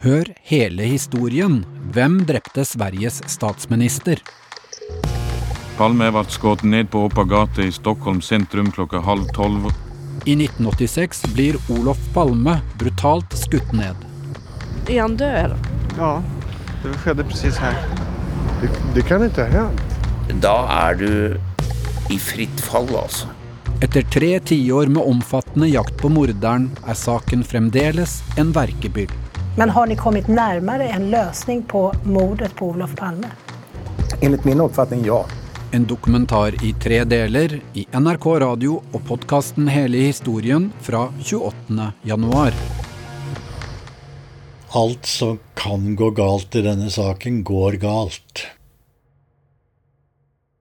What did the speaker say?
Hør hele historien. Hvem drepte Sveriges statsminister? Palme ble skutt ned på åpen gate i Stockholm sentrum klokka halv tolv. I 1986 blir Olof Palme brutalt skutt ned. Är han död? Ja, det skedde precis här. Det, det kan inte ha hänt. Da er du i fritt fall, altså. Etter tre tiår med omfattende jakt på morderen er saken fremdeles en verkebyll. Men har ni kommit närmare en lösning på mordet på Olof Palme? Enligt min uppfattning, ja. En dokumentar i tre deler i NRK Radio og podkasten Hele historien fra 28. januar. Alt som kan gå galt i denne saken, går galt.